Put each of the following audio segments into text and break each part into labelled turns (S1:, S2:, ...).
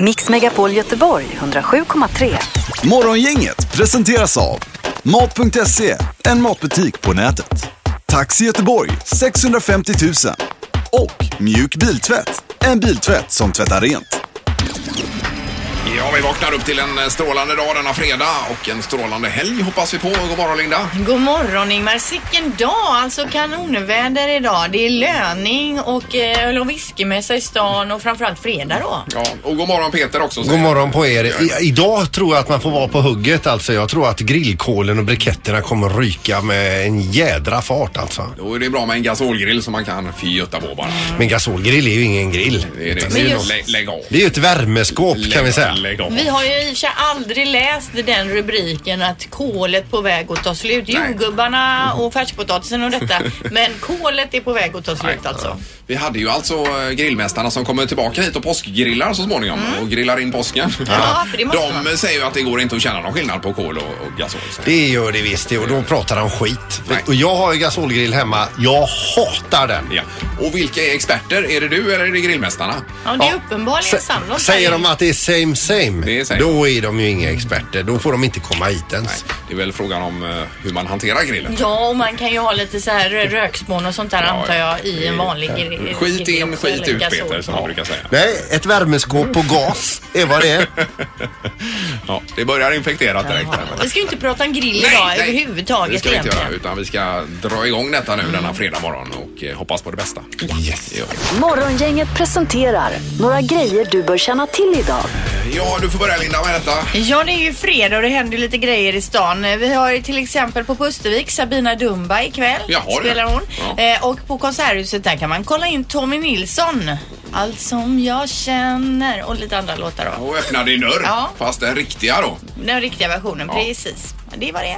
S1: Mix Megapol Göteborg 107,3.
S2: Morgongänget presenteras av Mat.se, en matbutik på nätet. Taxi Göteborg 650 000. Och Mjuk Biltvätt, en biltvätt som tvättar rent.
S3: Ja, vi vaknar upp till en eh, strålande dag denna fredag och en strålande helg hoppas vi på. God morgon Linda!
S4: God morgon Ingmar, sicken dag! Alltså kanonväder idag. Det är löning och eh, öl och whiskymässa i stan och framförallt fredag då.
S3: Ja, och god morgon Peter också. säger
S5: God
S3: jag.
S5: morgon på er. I, idag tror jag att man får vara på hugget alltså. Jag tror att grillkolen och briketterna kommer ryka med en jädra fart alltså.
S3: Då är det bra med en gasolgrill som man kan fjuta på bara.
S5: Men gasolgrill är ju ingen grill.
S3: Det är det.
S4: Men just-
S3: Lä, lägg av.
S5: Det är ju ett värmeskåp kan vi säga.
S3: Lägg av.
S4: Vi har ju i och för sig aldrig läst den rubriken att kolet på väg att ta slut. Jordgubbarna och färskpotatisen och detta. Men kolet är på väg att ta slut alltså.
S3: Vi hade ju alltså eh, grillmästarna som kommer tillbaka hit och påskgrillar så småningom och grillar in påsken.
S4: Mm. Ja, för det måste
S3: De
S4: man.
S3: säger ju att det går inte att känna någon skillnad på kol och, och gasol. säger de.
S5: Det gör det visst det och då pratar han skit.
S3: Nej.
S5: Och jag har ju gasolgrill hemma. Jag hatar den.
S3: Ja. Och vilka är experter? Är det du eller är det grillmästarna?
S4: Ja, det är
S5: Ja.
S4: uppenbarligen sant.
S5: Säger de att det är same same,
S3: Det är same.
S5: då är de ju inga experter. Då får de inte komma hit ens.
S3: Nej, det är väl frågan om eh, hur man hanterar grillen.
S4: Ja, och man kan ju ha lite så här rö- rökspån och sånt där
S3: Ja,
S4: antar jag i en
S3: ja.
S4: vanlig grill.
S3: Skit
S4: grill
S3: in,
S4: Eh, också,
S3: skit
S4: eller
S3: ut
S4: gasol.
S3: Peter som man brukar säga.
S5: Nej, ett värmeskåp på gas är vad det är.
S3: Ja, det börjar infekterat direkt. här.
S4: Vi ska ju inte prata om grill idag
S3: det
S4: överhuvudtaget
S3: ska vi inte göra
S4: egentligen. Mm.
S3: utan vi ska dra igång detta nu denna fredag morgon och eh, hoppas på det bästa.
S5: Yes.
S3: Ja.
S1: Morgongänget presenterar några grejer du bör känna till idag.
S3: ja, du får börja Linda med detta.
S4: Ja, det är ju fredag och det händer ju lite grejer i stan. Vi har ju till exempel på Pustervik Sabina Dumba ikväll.
S3: Jaha, du.
S4: spelar hon.
S3: Ja.
S4: Eh, och på Konserthuset där kan man kolla in Tommy Nilsson. Allt som jag känner och lite andra låtar då.
S3: Och öppna din dörr.
S4: Ja.
S3: Fast den riktiga då.
S4: Den riktiga versionen,
S3: Ja.
S4: precis. Ja, Det var det.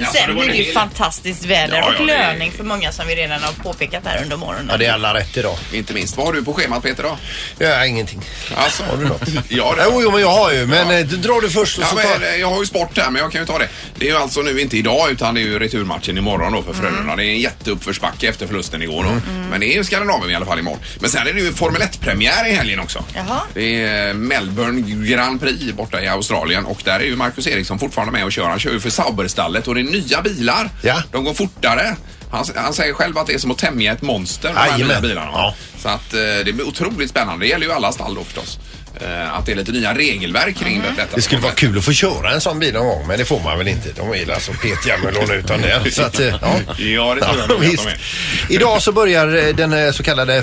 S3: Ja, så
S4: Sen
S3: var
S4: är det ju
S3: hel-
S4: fantastiskt väder
S3: Ja, ja,
S4: och
S3: det är-
S4: löning för många som vi redan har påpekat här under morgonen.
S5: Ja, det är alla rätt idag.
S3: Inte minst. Vad har du på schemat Peter då?
S5: Ja, ingenting.
S3: Alltså, har du något? ja, det
S5: Jo, jo, men jag har ju. Men
S3: Ja.
S5: eh, du drar du först och
S3: Ja,
S5: så tar...
S3: men, eh, jag har ju sport här men jag kan ju ta det. Det är ju alltså nu inte idag utan det är ju returmatchen imorgon då för
S5: Mm.
S3: Frölunda. Det är en jätteuppförsbacke efter förlusten igår då. Men det är ju Skandinavien i alla fall imorgon. Men sen är det ju Formel 1-premiär i helgen också.
S4: Jaha.
S3: Det är eh, Melbourne Grand Prix borta i Australien och där är ju Marcus Eriksson fortfarande med och kör. Han kör ju för Sauberstallet och det är nya bilar.
S5: Ja.
S3: De går fortare. Han, han säger själv att det är som att tämja ett monster de här nya
S5: Jajamän.
S3: bilarna.
S5: Ja.
S3: Så att eh, det blir otroligt spännande. Det gäller ju alla stall då förstås. Eh, Att det är lite nya regelverk kring detta.
S5: Mm. Det skulle vara kul att få köra en sån bil någon gång, men det får man väl inte. De är alltså petiga med att låna ut dem där. Så att, eh, ja.
S3: Ja, det tror jag nog att de
S5: visst.
S3: är.
S5: Idag så börjar eh, den eh, så kallade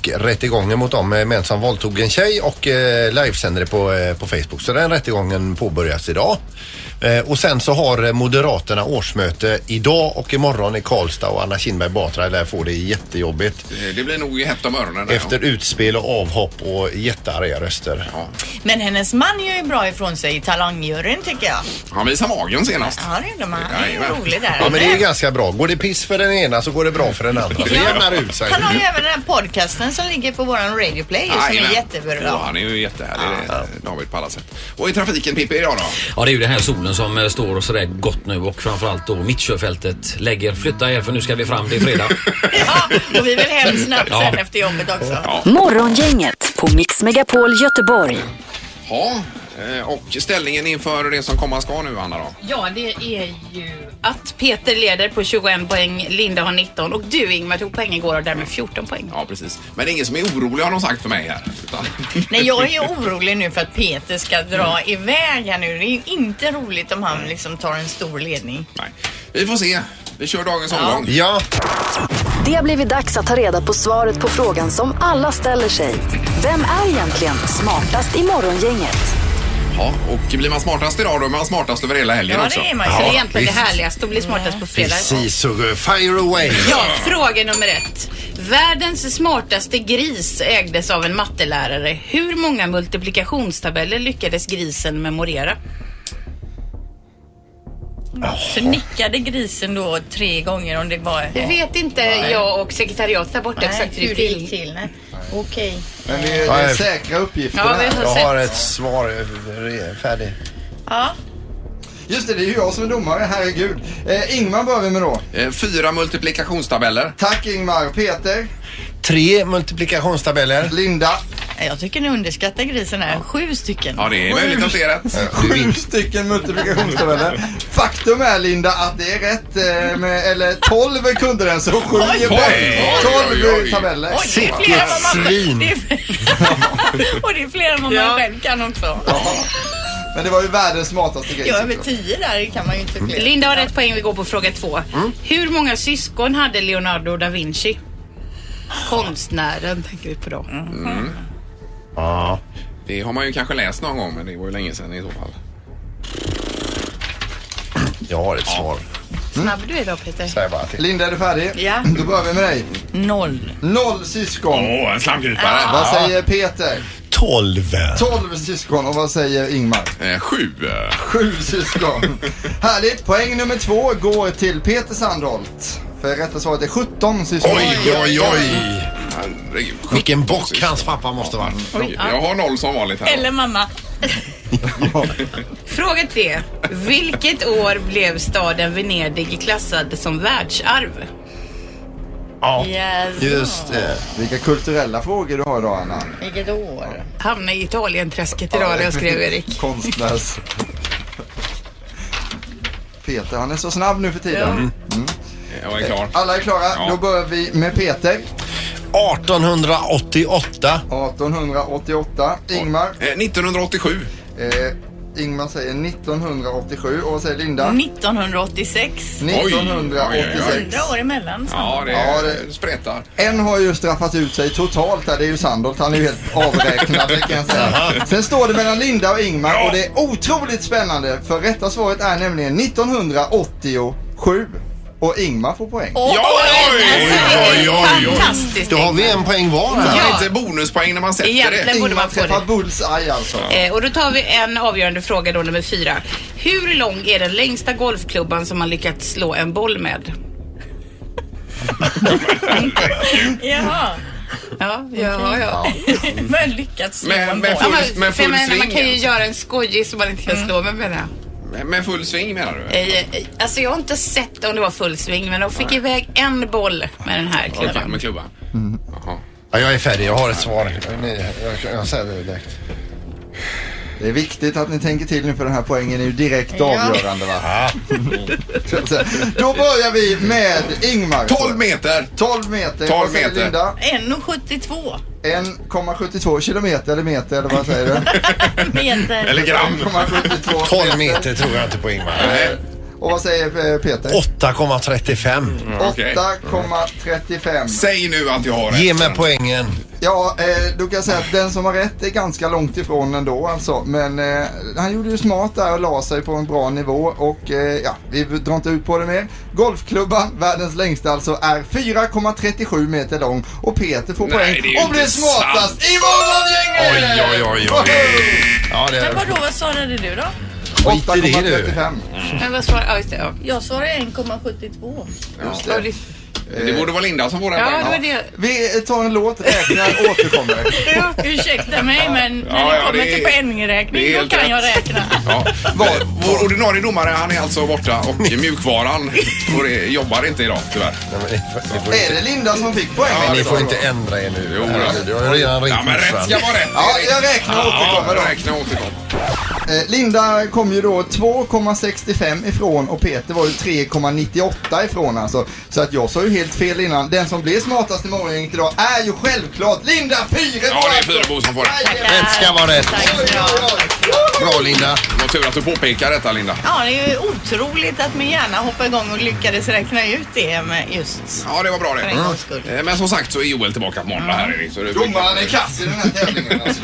S5: Facebook-rättegången mot de eh, män som våldtog en tjej och eh, livesänder det på, eh, på Facebook. Så den rättegången påbörjas idag. Eh, Och sen så har eh, Moderaterna årsmöte idag och imorgon i Karlstad och Anna Kinberg Batra lär få det jättejobbigt.
S3: Eh, Det blir nog hett om öronen. där,
S5: Efter utspel och avhopp och jättearga röster.
S3: Ja.
S4: Men hennes man gör ju bra ifrån sig i talangjuryn tycker jag.
S3: Han visade magen senast.
S4: Ja, det gjorde man. Han är ju
S3: Jajamän.
S4: rolig där.
S5: Ja men det är ju ganska bra. Går det piss för den ena så går det bra för den andra. Det jämnar ut sig.
S4: Han har ju även den här podcasten som ligger på våran Radio Play som
S3: Jajamän.
S4: är
S3: Ja,
S4: jättebra.
S3: han är ju jättehärlig, ja. David på alla sätt. Och i trafiken Pippi idag då?
S6: Ja, det är ju den här solen som eh, står och sådär gott nu och framförallt då mittkörfältet lägger. Flytta er för nu ska vi fram, det är fredag.
S4: Ja, och vi vill hem snabbt
S6: Ja.
S4: sen efter jobbet också.
S1: Morgongänget på Mix Megapol Göteborg.
S3: Ja, eh, och ställningen inför det som komma ska nu Anna då?
S7: Ja, det är ju att Peter leder på 21 poäng, Linda har 19 och du Ingmar tog poäng igår och därmed 14 poäng.
S3: Ja, precis. Men det är ingen som är orolig har de sagt för mig här. Utan...
S4: Nej, jag är ju orolig nu för att Peter ska dra iväg här nu. Det är ju inte roligt om han liksom tar en stor ledning.
S3: Nej. Vi får se. Vi kör dagens omgång.
S5: Ja,
S1: Det har blivit dags att ta reda på svaret på frågan som alla ställer sig. Vem är egentligen smartast i morgongänget?
S3: Ja, och blir man smartast idag då är man smartast över hela helgen
S4: Ja,
S3: också.
S4: det är man
S7: Så det är
S4: ju.
S7: egentligen
S5: visst.
S7: det härligaste att bli smartast på fredag.
S5: precis så. går- Fire away.
S7: Ja, fråga nummer ett. Världens smartaste gris ägdes av en mattelärare. Hur många multiplikationstabeller lyckades grisen memorera?
S4: Så nickade grisen då tre gånger om det var...
S7: Det vet inte jag och sekretariatet där borta exakt hur det gick till.
S4: Nej. Okej.
S8: Men det är, det
S5: Nej.
S8: är säkra
S7: Ja,
S8: uppgifterna.
S7: vi
S5: Jag
S7: har
S5: har
S7: sett.
S5: ett svar eh, färdigt.
S4: Ja.
S8: Just det, det är ju jag som är domare, herregud. Eh, Ingmar börjar vi med då.
S3: Eh, Fyra multiplikationstabeller.
S8: Tack Ingmar. Peter,
S5: Tre multiplikationstabeller.
S8: Linda,
S4: Jag tycker ni underskattar grisen här. Sju stycken.
S3: Ja, det är möjligt att det är rätt.
S8: Sju stycken multiplikationstabeller. Faktum är Linda att det är rätt eh, med, eller 12 kunde den så 7 är
S3: oj,
S8: bäst.
S3: oj, oj,
S8: 12
S3: oj.
S8: tabeller.
S4: Oj, det är fler än vad man själv... Det är, och det är fler än vad man
S7: Ja.
S4: själv kan också.
S8: Men det var ju världens smartaste grej.
S4: Jag är över
S8: såklart.
S4: tio där, det kan man ju inte fler.
S7: Linda har rätt poäng. Vi går på fråga två.
S5: Mm.
S7: Hur många syskon hade Leonardo da Vinci? Konstnären tänker vi på då.
S5: Mm. Ja.
S3: Det har man ju kanske läst någon gång, men det var ju länge sedan i så fall.
S5: Jag har ett svar.
S7: Snabb du är då Peter.
S5: Säg bara till.
S8: Linda är du färdig?
S4: Ja.
S8: Då börjar vi med dig.
S4: Noll.
S8: Noll syskon.
S3: Åh, en slamkrypare.
S8: Vad säger Peter?
S5: 12.
S8: 12 syskon och vad säger Ingmar?
S3: Eh, sju. eh,
S8: Sju syskon. Härligt. Poäng nummer två går till Peter Sandholt. För rätta svaret är 17 syskon.
S5: Oj, oj, oj.
S3: Herregud.
S5: Vilken bock hans pappa måste varit.
S3: Jag har noll som vanligt här.
S4: Eller mamma.
S7: Fråga tre. Vilket år blev staden Venedig klassad som världsarv?
S5: Ja.
S4: Yes.
S5: Just det.
S8: Vilka kulturella frågor du har idag Anna.
S4: Vilket år?
S7: Hamna i Italienträsket idag, det jag skrev Erik.
S8: Konstlös. Peter han är så snabb nu för tiden.
S3: Eh, Jag är klar.
S8: Alla är klara,
S3: Ja.
S8: då börjar vi med Peter.
S5: 1888.
S8: 1888. Ingmar.
S3: Eh, 1987.
S8: Eh, Ingmar säger 1987 och vad säger Linda?
S4: 1986.
S3: Oj,
S8: 1986.
S4: Hundra år emellan.
S3: Ja, det,
S8: Ja, det-
S3: spretar.
S8: En har ju straffat ut sig totalt här, det är ju Sandholt. Han är ju helt avräknad, det kan jag säga. Sen står det mellan Linda och Ingmar och det är otroligt spännande för rätta svaret är nämligen 1987. Och Ingmar får poäng.
S3: Ja, oj, oj, oj, oj.
S7: Fantastiskt!
S5: Då har vi en poäng var här.
S3: Det är inte bonuspoäng när man sätter
S7: Egentligen
S3: det.
S7: borde
S8: Ingmar
S7: man få
S8: träffar
S7: det.
S8: bullseye alltså.
S7: Eh, och då tar vi en avgörande fråga då, nummer fyra. Hur lång är den längsta golfklubban som man lyckats slå en boll med?
S4: Jaha.
S7: Ja, ja, ja.
S4: Men lyckats slå
S3: Men-
S4: en
S3: men
S4: boll.
S7: ja
S3: Full-
S7: men,
S3: med full
S7: jag menar, man
S3: sving,
S7: kan ju
S3: alltså.
S7: göra en skojig som man inte kan slå med menar jag.
S3: Med- Med full sving menar du?
S7: Mm. Eh, eh, Alltså jag har inte sett om det var full sving men de fick iväg en boll med den här klubban.
S3: Okej, med klubban. Jaha.
S5: Ja, jag är färdig, jag har ett svar. Nej, Jag, jag säger det direkt.
S8: Det är viktigt att ni tänker till nu för den här poängen är ju direkt avgörande va? Så att säga. Då börjar vi med Ingmar.
S3: 12 meter.
S8: 12 meter.
S3: 12
S8: Vad säger
S3: meter.
S8: Linda?
S4: 1,72
S8: 1,72 kilometer eller meter eller vad säger du?
S4: meter.
S3: Eller gram.
S8: 1,72
S5: 12 meter tror jag inte på Ingmar.
S3: Nej,
S8: Och vad säger eh, Peter?
S5: 8,35.
S3: okej.
S8: 8,35.
S3: Säg nu att jag har rätt.
S5: Ge mig poängen.
S8: Ja, eh, du kan säga att den som har rätt är ganska långt ifrån ändå alltså. Men eh, han gjorde ju smart där och la sig på en bra nivå. Och eh, ja, vi drar inte ut på det mer. Golfklubban, världens längsta alltså, är 4,37 meter lång. Och Peter får
S3: Nej,
S8: poäng
S3: det är ju
S8: och blir
S3: inte
S8: smartast
S3: sant.
S8: i morgongänget!
S5: Oj, oj, oj, oj. Ja, det
S4: Men vadå, vad svarade du då?
S5: Skit i det, du.
S8: 8,35.
S7: Men vad svarar... Ja, just det. Ja.
S4: Jag svarade 1,72.
S8: Just
S7: Ja,
S8: det.
S7: det-
S3: Det borde vara Linda som får den
S7: Ja,
S3: poängen.
S7: det var det.
S8: Vi tar en låt, räknar och återkommer.
S4: Ja, Ursäkta mig men när
S3: Ja,
S4: det
S3: ja,
S4: kommer
S3: det är-
S4: till poängräkning
S3: det är
S4: då
S3: helt
S4: kan jag
S3: rätt.
S4: räkna.
S3: Ja. Eh, Vår ordinarie domare han är alltså borta och mjukvaran får, jobbar inte idag tyvärr.
S5: Nej, men ni får- ni får
S8: Är
S5: inte-
S8: det Linda som fick poäng?
S5: men Ni får inte ändra er nu.
S3: Jo, då.
S5: Herregud, Jag har ju redan
S3: Ja,
S5: ringt
S3: men rätt ska
S5: morsan.
S3: vara rätt.
S8: Ja, jag räknar och återkommer då.
S3: Ja, räkna och återkom.
S8: Eh, Linda kom ju då 2,65 ifrån och Peter var ju 3,98 ifrån alltså. Så att jag sa ju helt fel innan. Den som blir smartast i morgongänget idag är ju självklart Linda Fyrebo!
S3: Ja, det är Fyrebo som får det.
S8: Jajamän.
S5: Rätt ska vara rätt.
S8: Oj, oj, oj.
S5: Bra Linda.
S3: Det var tur att du påpekar detta Linda.
S4: Ja, det är ju otroligt att min hjärna hoppade igång och lyckades räkna ut det med just
S3: Ja, det var bra det.
S4: för en gångs skull.
S3: Eh, Men som sagt så är Joel tillbaka på måndag här Erik. Så det-
S8: Domaren är kass i den här tävlingen alltså.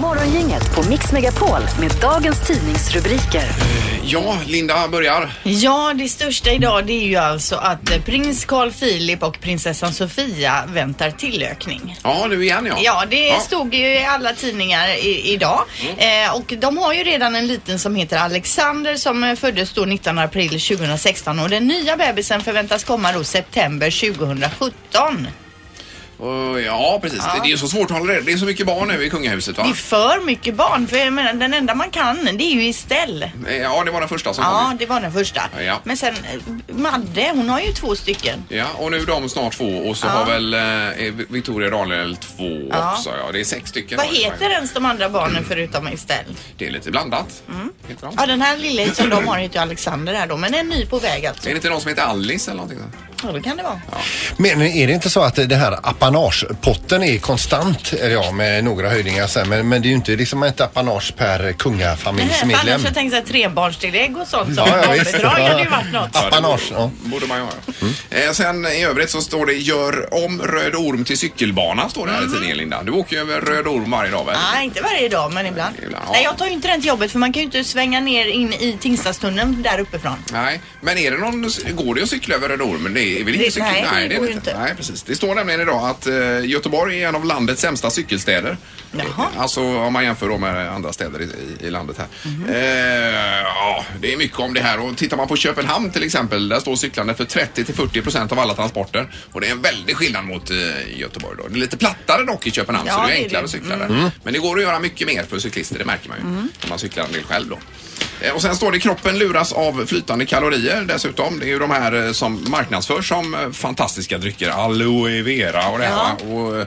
S1: Morgongänget på Mix Megapol med dagens tidningsrubriker.
S3: Ja, Linda börjar.
S4: Ja, det största idag det är ju alltså att eh, prins Carl Philip och prinsessan Sofia väntar tillökning.
S3: Ja, nu igen ja. Mm.
S4: Ja, det stod ju i alla tidningar i, idag. Eh, och de har ju redan en liten som heter Alexander som eh, föddes då 19 april 2016 och den nya bebisen förväntas komma då september 2017.
S3: Och, ja, precis. Det, det är ju så svårt att hålla reda Det är så mycket barn nu i kungahuset,
S4: Det är
S3: va?
S4: för mycket barn. För jag menar, den enda man kan, det är ju Estelle.
S3: Eh, Ja, det var den första som
S4: Ja,
S3: kom.
S4: det var den första.
S3: Ja.
S4: Men sen eh, Madde, hon har ju två stycken.
S3: Ja, och nu de snart två och så har väl eh, Victoria Daniel två också. Ja, det är sex stycken.
S4: Vad
S3: då, det var ju-
S4: heter ens de andra barnen förutom Estelle?
S3: Det är lite blandat. Heter de?
S4: Mm. Ja, den här lille som de har heter ju Alexander här då, men en ny på väg alltså.
S3: Är det inte någon som heter Alice eller någonting? sånt?
S4: Ja, det kan det vara.
S5: Men är det inte så att det här apanagepotten är konstant? Eller ja, med några höjningar sen. Men, men det är ju inte liksom ett apanage per
S4: Nej, för
S5: kungafamiljsmedlem.
S4: annars jag tänkte såhär trebarnstillägg och sånt. Så
S5: Ja, ja, visst.
S4: barnbidrag hade ju varit något.
S5: Ja. Apanage, ja. Mm.
S3: borde man göra. Eh, sen i övrigt så står det gör om Röd Orm till cykelbana står det
S4: Mm.
S3: här i tidningen Linda. Du åker ju över Röd Orm varje dag väl?
S4: Nej, inte varje dag men ibland.
S3: Ibland, ja.
S4: Nej, jag tar ju inte den till jobbet för man kan ju inte svänga ner in i Tingstadstunneln där uppifrån.
S3: Nej, men är det någon, går det att cykla över Röd Ormen? Det är väl inte
S4: Det-
S3: cykel?
S4: nej, det
S3: är
S4: går ju inte.
S3: Nej, precis. Det står nämligen idag att eh, Göteborg är en av landets sämsta cykelstäder.
S4: Jaha.
S3: Eh, Alltså om man jämför då med andra städer i, i landet här.
S4: Mhm.
S3: eh, ja, det är mycket om det här och tittar man på Köpenhamn till exempel, där står cyklande för 30 till 40 procent av alla transporter. Och det är en väldig skillnad mot eh, Göteborg då. Det är lite plattare dock i Köpenhamn så
S4: Ja,
S3: det är
S4: det är
S3: enklare
S4: det.
S3: att cykla där. Men det går att göra mycket mer för cyklister, det märker man ju. Om man cyklar en del själv då. Eh, Och sen står det kroppen luras av flytande kalorier dessutom. Det är ju de här eh, som marknadsförs som eh, fantastiska drycker. Aloe vera och det här. va? Och, eh,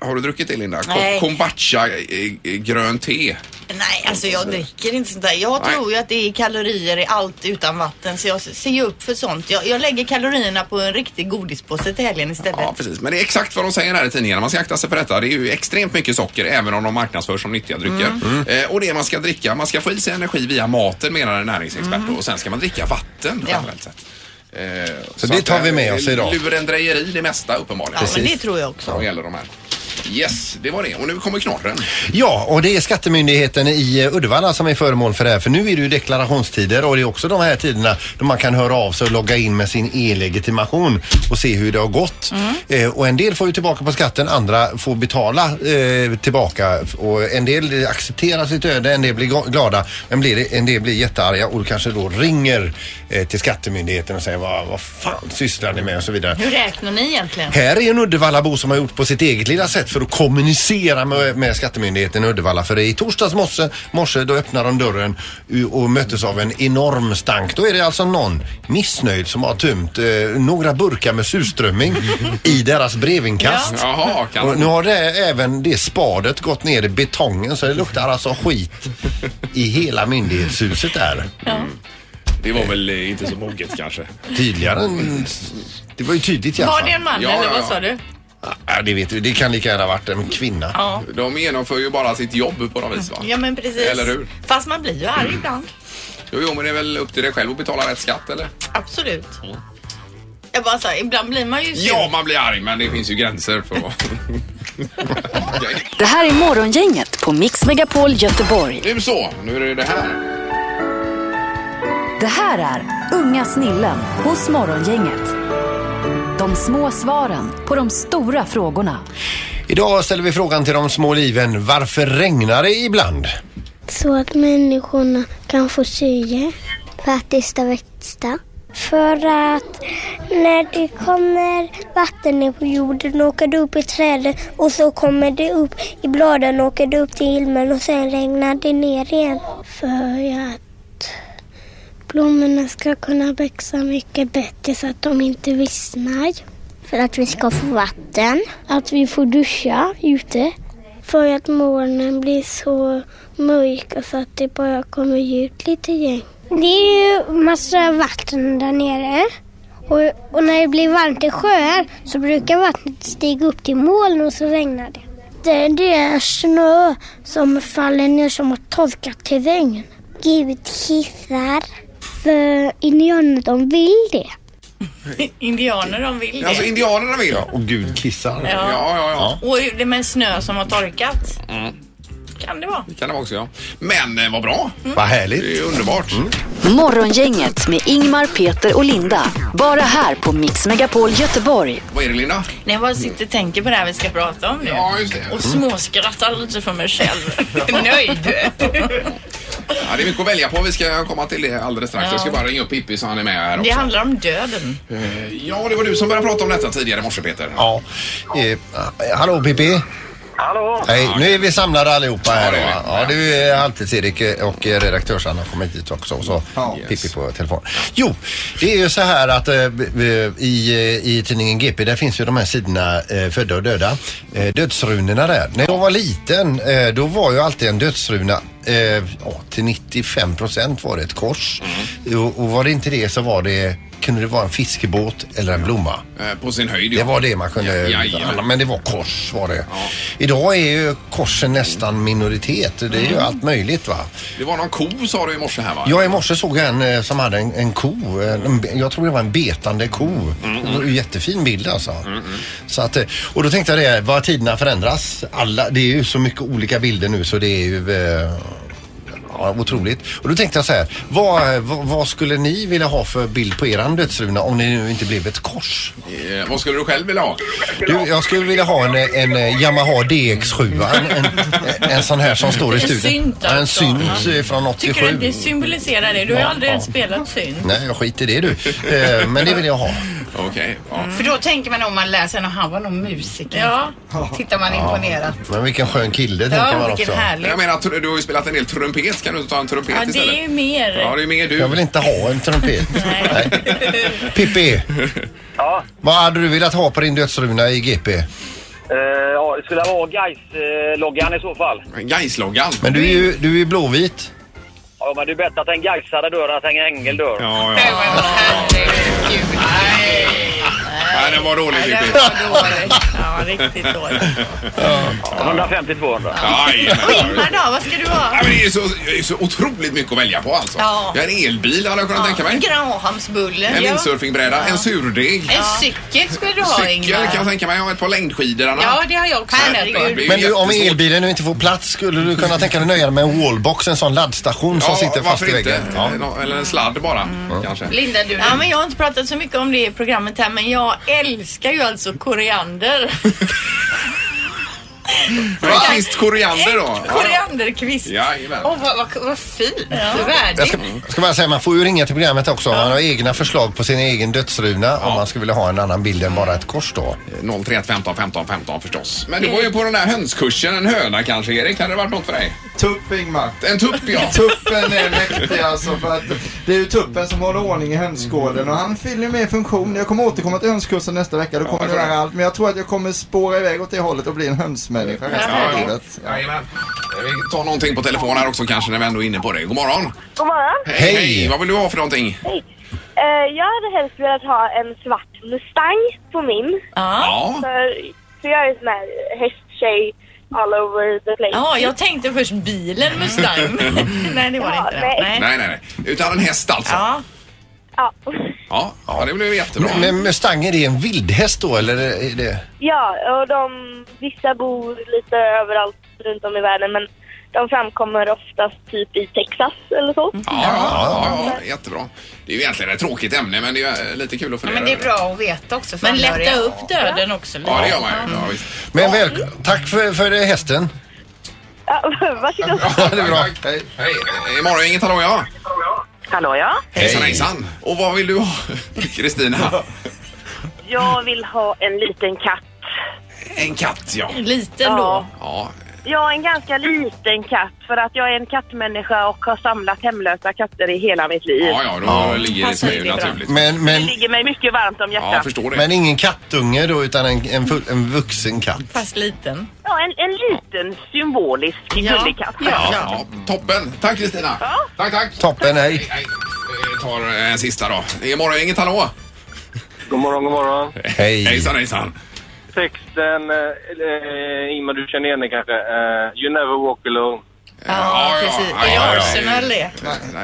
S3: har du druckit det Linda? Ko-
S4: Nej.
S3: Kombacha eh, eh, grönt te.
S4: Nej, alltså jag dricker inte sånt där. Jag
S3: Nej.
S4: tror ju att det är kalorier i allt utan vatten så jag ser ju upp för sånt. Jag, jag lägger kalorierna på en riktig godispåse till helgen istället.
S3: Ja, precis. Men det är exakt vad de säger här i tidningen. Man ska akta sig för detta. Det är ju extremt mycket socker även om de marknadsförs som nyttiga drycker.
S4: Mm.
S3: Eh, och det man ska dricka, man ska få i sig energi via maten menar en näringsexpert då. och sen ska man dricka vatten
S4: Mm. Ja.
S3: generellt sett. Eh,
S5: Så det
S3: att,
S5: tar vi
S3: eh,
S5: med oss idag.
S3: Lurendrejeri det mesta uppenbarligen.
S4: Ja, men det tror jag också.
S3: Vad gäller de här. Yes, det var det. Och nu kommer knorren.
S5: Ja, och det är Skattemyndigheten i eh, Uddevalla som är föremål för det här. För nu är det ju deklarationstider och det är också de här tiderna då man kan höra av sig och logga in med sin e-legitimation och se hur det har gått. Eh, och en del får ju tillbaka på skatten, andra får betala eh, tillbaka. Och en del accepterar sitt öde, en del blir ga- glada, men blir, en del blir jättearga och kanske då ringer eh, till Skattemyndigheten och säger vad, vad fan sysslar ni med och så vidare.
S4: Hur räknar ni egentligen?
S5: Här är en Uddevallabo som har gjort på sitt eget lilla sätt för att kommunicera med, med skattemyndigheten i Uddevalla. För i torsdags morse, morse då öppnade de dörren u- och möttes av en enorm stank. Då är det alltså någon missnöjd som har tömt eh, några burkar med surströmming i deras brevinkast.
S3: Jaha, kan
S5: Och nu har det, även det spadet gått ner i betongen så det luktar alltså skit i hela myndighetshuset där.
S3: Det var väl eh, inte så moget kanske.
S5: Tydligare än... Det var ju tydligt i alla
S4: Var det
S5: fall.
S4: en man
S3: Ja,
S4: eller
S3: ja,
S4: vad
S3: ja.
S4: sa du?
S5: Ja, det, vet, vi. det kan lika gärna ha varit en kvinna.
S4: Ja.
S3: De genomför ju bara sitt jobb på något vis va?
S4: Ja men precis.
S3: Eller hur? Mm.
S4: Fast man blir ju arg ibland.
S3: Jo, jo, men det är väl upp till dig själv att betala rätt skatt eller?
S4: Absolut. Jag bara sa, ibland blir man ju sur.
S3: Mm. Ja, man blir arg men det finns ju gränser för vad... Okej.
S1: Det här är Morgongänget på Mix Megapol Göteborg.
S3: Nu så, nu är det det här.
S1: Det här är Unga snillen hos Morgongänget. De små svaren på de stora frågorna.
S5: Idag ställer vi frågan till de små liven. Varför regnar det ibland?
S9: Så att människorna kan få sye. För att det ska växa. För att när det kommer vatten ner på jorden åker det upp i träden och så kommer det upp i bladen åker det upp till himlen och sen regnar det ner igen. För att blommorna ska kunna växa mycket bättre så att de inte vissnar. För att vi ska få vatten. Att vi får duscha ute. För att morgonen blir så mörk och så att det bara kommer ut lite gäng. Det är ju massa vatten där nere. Och, och när det blir varmt i sjöar så brukar vattnet stiga upp till moln och så regnar det. Det, det är snö som faller ner som har torkat till regn. Gud kissar. För indianerna de vill det.
S4: Indianer de vill det.
S3: Alltså indianerna vill. Ja,
S5: Och Gud kissar.
S3: ja, ja. ja.
S4: Och det med snö som har torkat. Kan det vara.
S3: Det kan det vara också ja. Men eh, vad bra.
S5: Vad
S3: Det är
S5: härligt.
S3: ju underbart.
S1: Morgongänget med Ingmar, Peter och Linda. Bara här på Mix Megapol Göteborg.
S3: Vad är det Linda?
S4: När jag bara sitter och tänker på det här vi ska prata om nu.
S3: Mm. Ja, just det.
S4: Och småskrattar lite för mig själv. Nöjd.
S3: Ja, det är mycket att välja på. Vi ska komma till det alldeles strax.
S4: Ja.
S3: Jag ska bara ringa upp Pippi så han är med här
S4: Det
S3: också.
S4: handlar om döden.
S3: Eh, Ja, det var du som började prata om detta tidigare i morse Peter.
S5: Ja. Eh, hallå Pippi.
S10: Hallå?
S5: Hej, nu är vi samlade allihopa
S3: Ja,
S5: här.
S3: det är
S5: va?
S3: vi.
S5: Ja, du är halvtids-Erik eh, och eh, redaktörs-Anna har kommit hit också. Och så
S8: Ja.
S5: Pippi på telefon. Jo, det är ju så här att eh, b- b- i, eh, i tidningen GP där finns ju de här sidorna eh, födda och döda. Eh, dödsrunorna där. När jag var liten eh, då var ju alltid en dödsruna eh, ja, till 95 procent var det ett kors.
S3: Mm.
S5: Och, och var det inte det så var det kunde det vara en fiskebåt eller en blomma.
S3: Eh, På sin höjd. ja.
S5: Det var det man kunde...
S3: Ja, jajamän.
S5: men det var kors var det. Idag är ju korsen nästan minoritet. Det är
S3: Mm.
S5: ju allt möjligt va.
S3: Det var någon ko sa du i morse här va?
S5: Jag i morse såg jag en eh, som hade en, en ko. En, en be- jag tror det var en betande ko.
S3: Mm,
S5: Det var en Jättefin bild alltså. Så att, eh, och då tänkte jag det, vad tiderna förändras. Alla, det är ju så mycket olika bilder nu så det är ju eh, Ja, otroligt. Och då tänkte jag så här, vad, vad, vad skulle ni vilja ha för bild på eran dödsruna om ni nu inte blev ett kors?
S3: Eh, Vad skulle du själv vilja ha?
S5: Du, jag skulle vilja ha en, en eh, Yamaha DX7. En, en, en sån här som står i
S4: En
S5: studion.
S4: synt
S5: Ja, En
S4: alltså.
S5: synt eh, från
S4: Tycker du
S5: 87.
S4: att det symboliserar det? Du har ju
S5: Ja,
S4: aldrig
S5: ja.
S4: ens spelat synt.
S5: Nej, jag skiter i det du. Eh, Men det vill jag ha.
S3: Okej. ja.
S4: Mm.
S7: För då tänker man om man läser och han var nog musiker.
S4: Ja.
S7: Tittar man imponerat.
S5: Men vilken skön kille tänker
S7: Ja,
S5: man
S7: vilken
S5: också.
S7: härlig.
S3: Jag menar, att du har ju spelat en del trumpet. Kan du inte ta en trumpet
S4: Ja, det
S3: istället?
S4: är ju mer.
S3: Ja, det är mer du.
S5: Jag vill inte ha en trumpet.
S4: Nej.
S5: Pippi,
S10: Ja,
S5: vad hade du velat ha på din dödsruna i GP?
S10: eh, ja det skulle vara Gais-loggan i så fall.
S3: Gaisloggan.
S5: Men du är ju, du är ju blåvit.
S10: Ja, men det är bättre att en gaisare dör än att en ängel dör.
S3: Ja, ja. Nej, den var dålig
S4: Det
S3: Pippi.
S4: var dåligt. Ja, riktigt dåligt.
S10: 150-200.
S3: Aj,
S4: Och
S3: men-
S4: Ingmar då, vad ska du ha?
S3: Ja, men det är så, det är så otroligt mycket att välja på alltså.
S4: Ja.
S3: Jag har en elbil hade jag kunnat tänka mig.
S4: En Grahamsbulle.
S3: En
S4: Ja.
S3: windsurfingbräda, en surdeg,
S7: En cykel skulle du ha
S3: cykel
S7: Ingmar.
S3: kan jag tänka mig och ett par längdskidor. Anna.
S7: Ja, det har jag också funderat på.
S3: Herregud.
S5: Men du, om
S3: Jättesvårt.
S5: elbilen nu inte får plats, skulle du kunna tänka dig nöja dig med en wallbox, en sån laddstation som sitter fast
S3: varför
S5: i
S3: inte?
S5: väggen? Ja.
S3: Nå- Eller en sladd bara kanske.
S7: Linda, du
S4: Ja, men jag har inte pratat så mycket om det i programmet här men jag älskar ju alltså koriander.
S3: Men en kvist koriander då.
S4: Korianderkvist.
S3: Ja, jajamän.
S7: Åh, vad, vad, vad fint. Värdigt.
S5: Jag ska, jag ska bara säga, man får ju ringa till programmet också om man har egna förslag på sin egen dödsruna om man skulle vilja ha en annan bild än bara ett kors då.
S3: 031 15 15 15 förstås. Men du var ju på den där hönskursen, en höna kanske Erik, hade det varit något för dig?
S8: Tupp Ingmar.
S3: En tupp ja.
S8: Tuppen är mäktig alltså för att det är ju tuppen som håller ordning i hönsgården och han fyller ju mer funktion. Jag kommer återkomma till hönskursen nästa vecka, då kommer
S3: jag
S8: det
S3: tror
S8: där allt. Men jag tror att jag kommer spåra iväg åt det hållet och bli en hönsmänniska resten
S3: Ja,
S8: av
S3: ja.
S8: livet.
S3: Jajamän. Eh, Vi tar någonting på telefon här också kanske när vi ändå är inne på det. God morgon!
S11: God morgon.
S5: Hej.
S3: Vad vill du ha för någonting?
S11: Hej. Eh, jag hade helst velat ha en svart Mustang på min.
S4: Ja.
S3: Ja.
S11: För, för jag är sån här hästtjej all over the place.
S4: ja, jag tänkte först bilen Mustang. nej, det var det
S11: Ja,
S4: inte.
S11: nej.
S4: Nej.
S3: Nej, nej, nej. Utan en häst alltså. Ja,
S4: Ja.
S11: Ja.
S3: ja. det blev jättebra.
S5: Men, men Mustang, är det en vildhäst då eller? Är det...
S11: ja, och de, vissa bor lite överallt runt om i världen men de framkommer oftast typ i Texas eller så.
S3: Ja, ja, ja, ja, jättebra. Det är ju egentligen ett tråkigt ämne men det är ju, eh, lite kul att
S7: Ja,
S3: fundera
S7: men det är
S3: över.
S7: bra att veta också. för
S4: Men lätta
S7: anhöriga.
S4: upp döden också lite.
S3: Ja, det gör man ju. Ja, visst.
S5: Men väl, tack för, för det, hästen.
S11: Ja, varsågod.
S5: Ja, det är bra.
S3: Hej. Hej. Eh, Imorgon, inget hallå ja.
S11: Hallå ja?
S3: Hejsan, hejsan. Och vad vill du ha, Kristina?
S11: Jag vill ha en liten katt.
S3: En katt, ja.
S4: Liten då.
S3: Ja,
S11: Ja, en ganska liten katt för att jag är en kattmänniska och har samlat hemlösa katter i hela mitt liv.
S3: ja, ja då ligger det
S4: Passar
S3: sig ju
S4: riktigt bra.
S3: naturligt.
S5: Men,
S11: Det
S5: men,
S11: ligger mig mycket varmt om
S3: Ja, jag
S11: hjärtat.
S3: förstår det.
S5: men ingen kattunge då utan en, en, fu- en vuxen katt.
S4: Fast liten.
S11: Ja, en, en liten symbolisk gullekatt.
S3: ja, ja. toppen. Tack, Kristina. Tack, tack.
S5: Toppen, hej.
S3: Nej, vi tar en sista då. Imorgon, inget hallå.
S10: God morgon, god morgon.
S5: Hej.
S3: Hejsan, hejsan.
S10: Texten, eh, Ingmar du känner igen den kanske. Eh, you never walk alone.
S3: Ja, ja,
S4: precis.
S3: ja,
S4: Det
S3: ja,
S4: är
S3: ja.
S4: Arsenal det.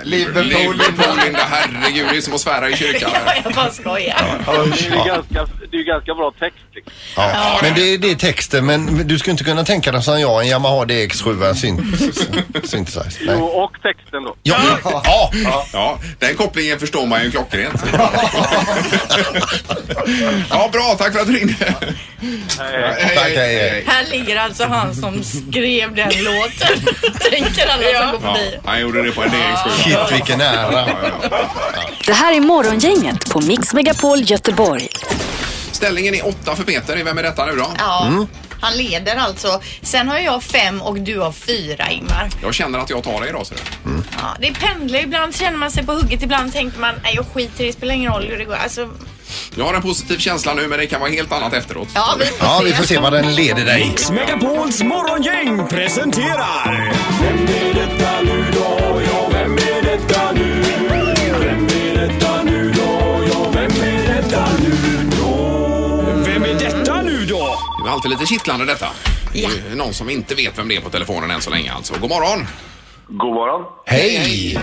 S8: Liverpool,
S3: Liverpool, Linda. Herregud, det är som att svära i kyrkan.
S4: Ja, jag bara skojar.
S10: Det är ju ganska, det är ju ganska bra text. Liksom.
S5: Ja. Men det, det är texten, men du skulle inte kunna tänka dig som jag, en Yamaha DX7, en syn- synthesizer. Nej.
S10: Jo, och texten då.
S5: Ja, men- ja.
S3: Ja, den kopplingen förstår man ju klockrent. Ja, bra. Tack för att du ringde.
S10: Eh,
S5: Tack, hej, hej.
S4: Här ligger alltså han som skrev den låten. skriker alla
S3: Ja,
S4: som går förbi.
S3: han gjorde det på en näringsskiva.
S5: Shit, vilken ära.
S1: Det här är Morgongänget på Mix Megapol Göteborg.
S3: Ställningen är åtta för Peter. Vem är detta nu då?
S4: Ja, han leder alltså. Sen har jag fem och du har fyra, Ingmar.
S3: Jag känner att jag tar det idag. Så det.
S4: Ja, det pendlar. Ibland känner man sig på hugget, ibland tänker man nej, jag skiter i det, spelar ingen roll hur det går. Alltså,
S3: Jag har en positiv känsla nu men det kan vara helt annat efteråt.
S4: ja, vi
S5: Ja, vi får se vad den leder dig.
S12: Mix Megapols morgongäng presenterar... Vem är detta nu då? Ja, vem är detta nu? Vem är detta nu då? Ja, vem är detta nu då? Vem är detta nu då?
S3: Det är alltid lite kittlande detta. Det är ju någon som inte vet vem det är på telefonen än så länge alltså. God morgon!
S10: God morgon!
S5: Hej!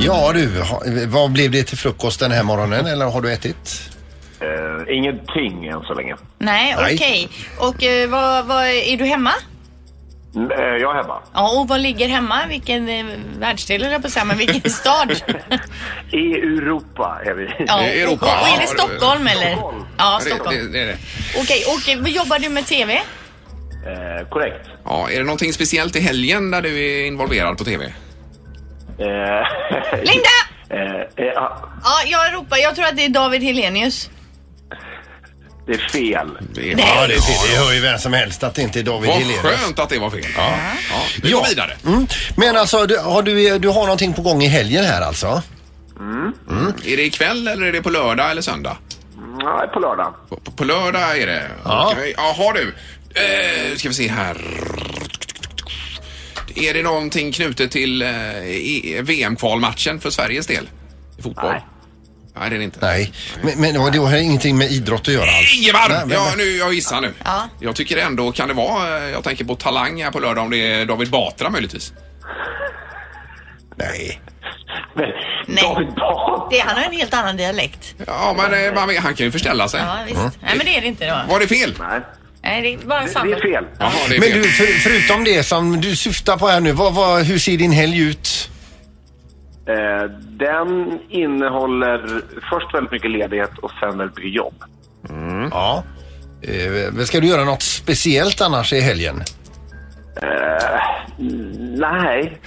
S5: Ja du, ha- vad blev det till frukost den här morgonen eller har du ätit?
S10: Eh, ingenting än så länge.
S4: Nej,
S5: Nej.
S4: okej. Och eh, vad, vad, är du hemma?
S10: Mm, eh, jag är hemma.
S4: Ja, och vad ligger hemma? Vilken eh, världsdel eller på att säga, men vilken stad?
S10: I Europa är vi.
S4: Ja,
S3: Det är Europa.
S4: Och, och är
S3: Ja,
S4: det Stockholm eller? Ja, Stockholm.
S3: Det, det, det är det.
S4: Okej, och eh, vad jobbar du med TV?
S10: Eh, korrekt.
S3: Ja, är det någonting speciellt i helgen där du är involverad på TV?
S10: Eh,
S4: Linda!
S10: eh, eh, ah,
S4: Ja, jag ropar. Jag tror att det är David Helenius.
S10: det är fel.
S3: Det är...
S5: Ja, det, det, det hör ju vem som helst att det inte är David
S3: Vad
S5: Hellenius.
S3: skönt att det var fel. Ja. vi går
S5: Ja.
S3: vidare.
S5: Mm. Men alltså, du har, du, du har någonting på gång i helgen här alltså?
S3: Är det ikväll eller är det på lördag eller söndag?
S10: Nej, på lördag.
S3: På, på, på lördag är det.
S5: Ja.
S3: Okej. Jaha du. Eh, ska vi se här. Är det någonting knutet till eh, i- VM-kvalmatchen för Sveriges del? I fotboll? Nej. Nej, det är det inte.
S5: Nej, men, men det har- det har ingenting med idrott att göra alls?
S3: Ingemar!
S5: Nej, men-
S3: ja, nu, jag gissar nu. Jag tycker ändå, kan det vara, eh, jag tänker på Talang här på lördag, om det är David Batra möjligtvis?
S5: Nej.
S10: Men
S4: Nej.
S10: David Batra.
S4: Det, han har en helt annan dialekt.
S3: Ja, men eh, man, vet- han kan ju förställa sig.
S4: Ja, visst.
S7: Mm.
S4: Nej, men det är det inte då.
S3: Var det fel?
S10: Nej,
S4: Nej, det är bara en
S10: det
S4: samma.
S10: är fel.
S3: Jaha, det är
S5: Men
S3: fel.
S5: du, för, förutom det som du syftar på här nu, vad, vad, hur ser din helg ut?
S10: Eh, den innehåller först väldigt mycket ledighet och sen väldigt mycket jobb.
S5: Ja. Eh, ska du göra något speciellt annars i helgen?
S10: Nej,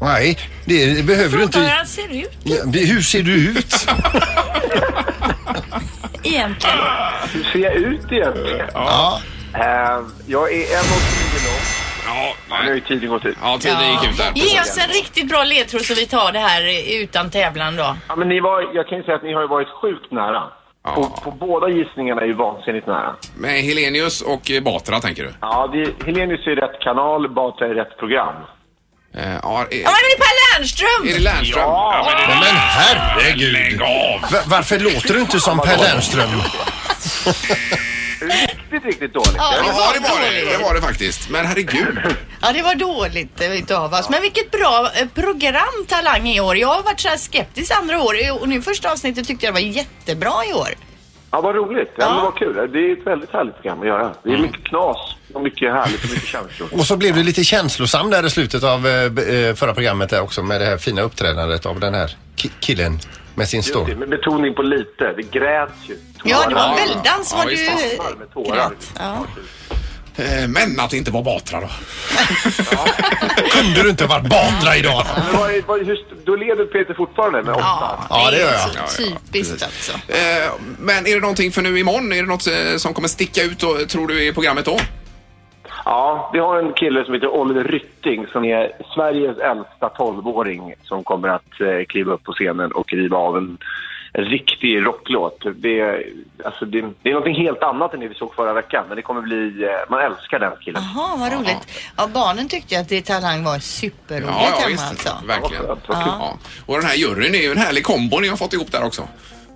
S5: Nej, det, det behöver du
S4: Fråga hur
S5: inte.
S4: han ser ut
S5: Ja, Hur ser du ut?
S4: egentligen.
S10: hur ser jag ut egentligen?
S5: Ja.
S10: Eh, jag är en och tio lång.
S3: Ja,
S10: Nu har ju
S3: nej.
S10: tiden gått ut.
S3: ja tiden gick ut där.
S4: Ge oss en riktigt bra ledtråd så vi tar det här eh, utan tävlan då.
S10: Ja, men ni var, jag kan ju säga att ni har ju varit sjukt nära. På, på båda gissningarna är ju vansinnigt nära.
S3: Med Helenius och eh, Batra tänker du?
S10: Ja, det, Helenius är ju rätt kanal, Batra är rätt program.
S3: Eh, ja, är,
S4: Ja, men det är Per
S3: är det
S4: Lernström!
S3: Lernström? Ja, men det är
S5: Men
S3: det.
S5: herregud!
S3: Lägg av!
S5: Va- Varför låter du inte som Per Lernström?
S10: Riktigt, riktigt dåligt.
S4: Ja, det
S3: Ja,
S4: var
S3: det var det. Det
S4: dåligt.
S3: var det faktiskt. Men herregud.
S4: Ja, det var dåligt eh, utav oss. Men vilket bra eh, program Talang i år. Jag har varit så här skeptisk andra år och nu första avsnittet tyckte jag var jättebra i år.
S10: Ja, vad roligt. Ja, men
S4: Ja.
S10: vad kul. Det är ett väldigt härligt program att göra. Det är mycket knas och mycket härligt och mycket känslor.
S5: Och så blev du lite känslosam där i slutet av eh, b- eh, förra programmet där också med det här fina uppträdandet av den här ki- killen med sin
S10: Just
S5: story.
S10: det, Med betoning på lite. Det gräts ju.
S4: Ja, det
S10: Tårar.
S4: var väldans
S3: Ja,
S4: vad
S3: visst.
S4: du
S10: Fastnar med tårar.
S4: grät. Ja.
S3: Eh, Men att det inte var Batra då.
S5: Kunde du inte varit Batra idag?
S10: Men vad är- vad är- hur st- Då leder Peter fortfarande med åtta.
S5: Ja, det gör jag.
S4: är så Typiskt alltså.
S3: Eh, Men är det någonting för nu imorgon? Är det något eh, som kommer sticka ut och, tror du i programmet då?
S10: Ja, vi har en kille som heter Oliver Rytting som är Sveriges äldsta 12-åring som kommer att eh, kliva upp på scenen och riva av en en riktig rocklåt. Det, alltså det, det är något helt annat än det vi såg förra veckan, men det kommer bli... eh, Man älskar den killen.
S4: Jaha, vad roligt. Ja, barnen tyckte ju att det Talang var superroligt hemma alltså.
S3: Verkligen.
S10: Ja, vad- vad kul.
S3: Ja. Och den här juryn är ju en härlig kombo ni har fått ihop där också.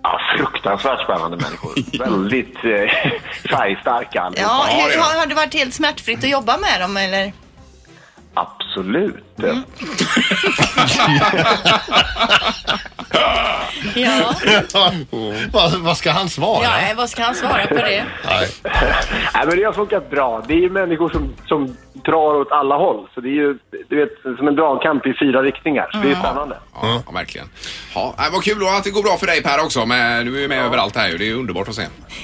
S10: Ja, fruktansvärt spännande människor. Väldigt eh, färgstarka allihopa.
S4: Ja,
S3: Ja, det
S4: hur,
S3: är
S4: har, har det varit helt smärtfritt att jobba med dem eller?
S10: Absolut.
S4: Ja,
S5: vad, vad ska han svara?
S4: ja nej, vad ska han svara på det?
S5: Nej.
S10: Nej, men det har funkat bra. Det är ju människor som, som drar åt alla håll. Så det är ju du vet, som en dragkamp i fyra riktningar. Så det är
S3: Mm.
S10: spännande.
S3: Ja, ja, verkligen. Ja, nej, vad kul då att det går bra för dig Per också. Men du är ju med överallt här ju. Det är ju underbart att se.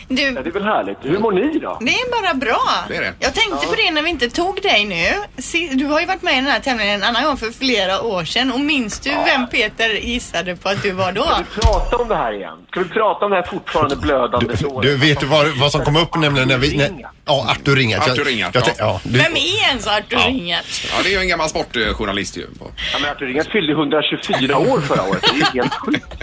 S4: Du...
S10: det är väl härligt. Hur mår ni då?
S4: Det är bara bra.
S3: Det är det.
S4: Jag tänkte
S3: Ja.
S4: på det när vi inte tog dig nu. Se- Du har ju varit med i den här tävlingen en annan gång för flera år sedan och minns du vem Peter gissade på att du var då?
S10: Prata om det här igen. Ska vi prata om det här fortfarande blödande såret?
S5: Du vet du vad, vad som kom upp nämligen när vi... När, ja, Artur Ringart.
S3: Arthur Ringart,
S5: Jag, jag,
S3: ja.
S5: ja. du,
S4: Vem är ens Arthur
S3: Ja.
S4: Ringert?
S3: Ja, det är ju en gammal sportjournalist ju. På.
S10: Ja, men Arthur Ringart fyllde 124 år förra året. Det är ju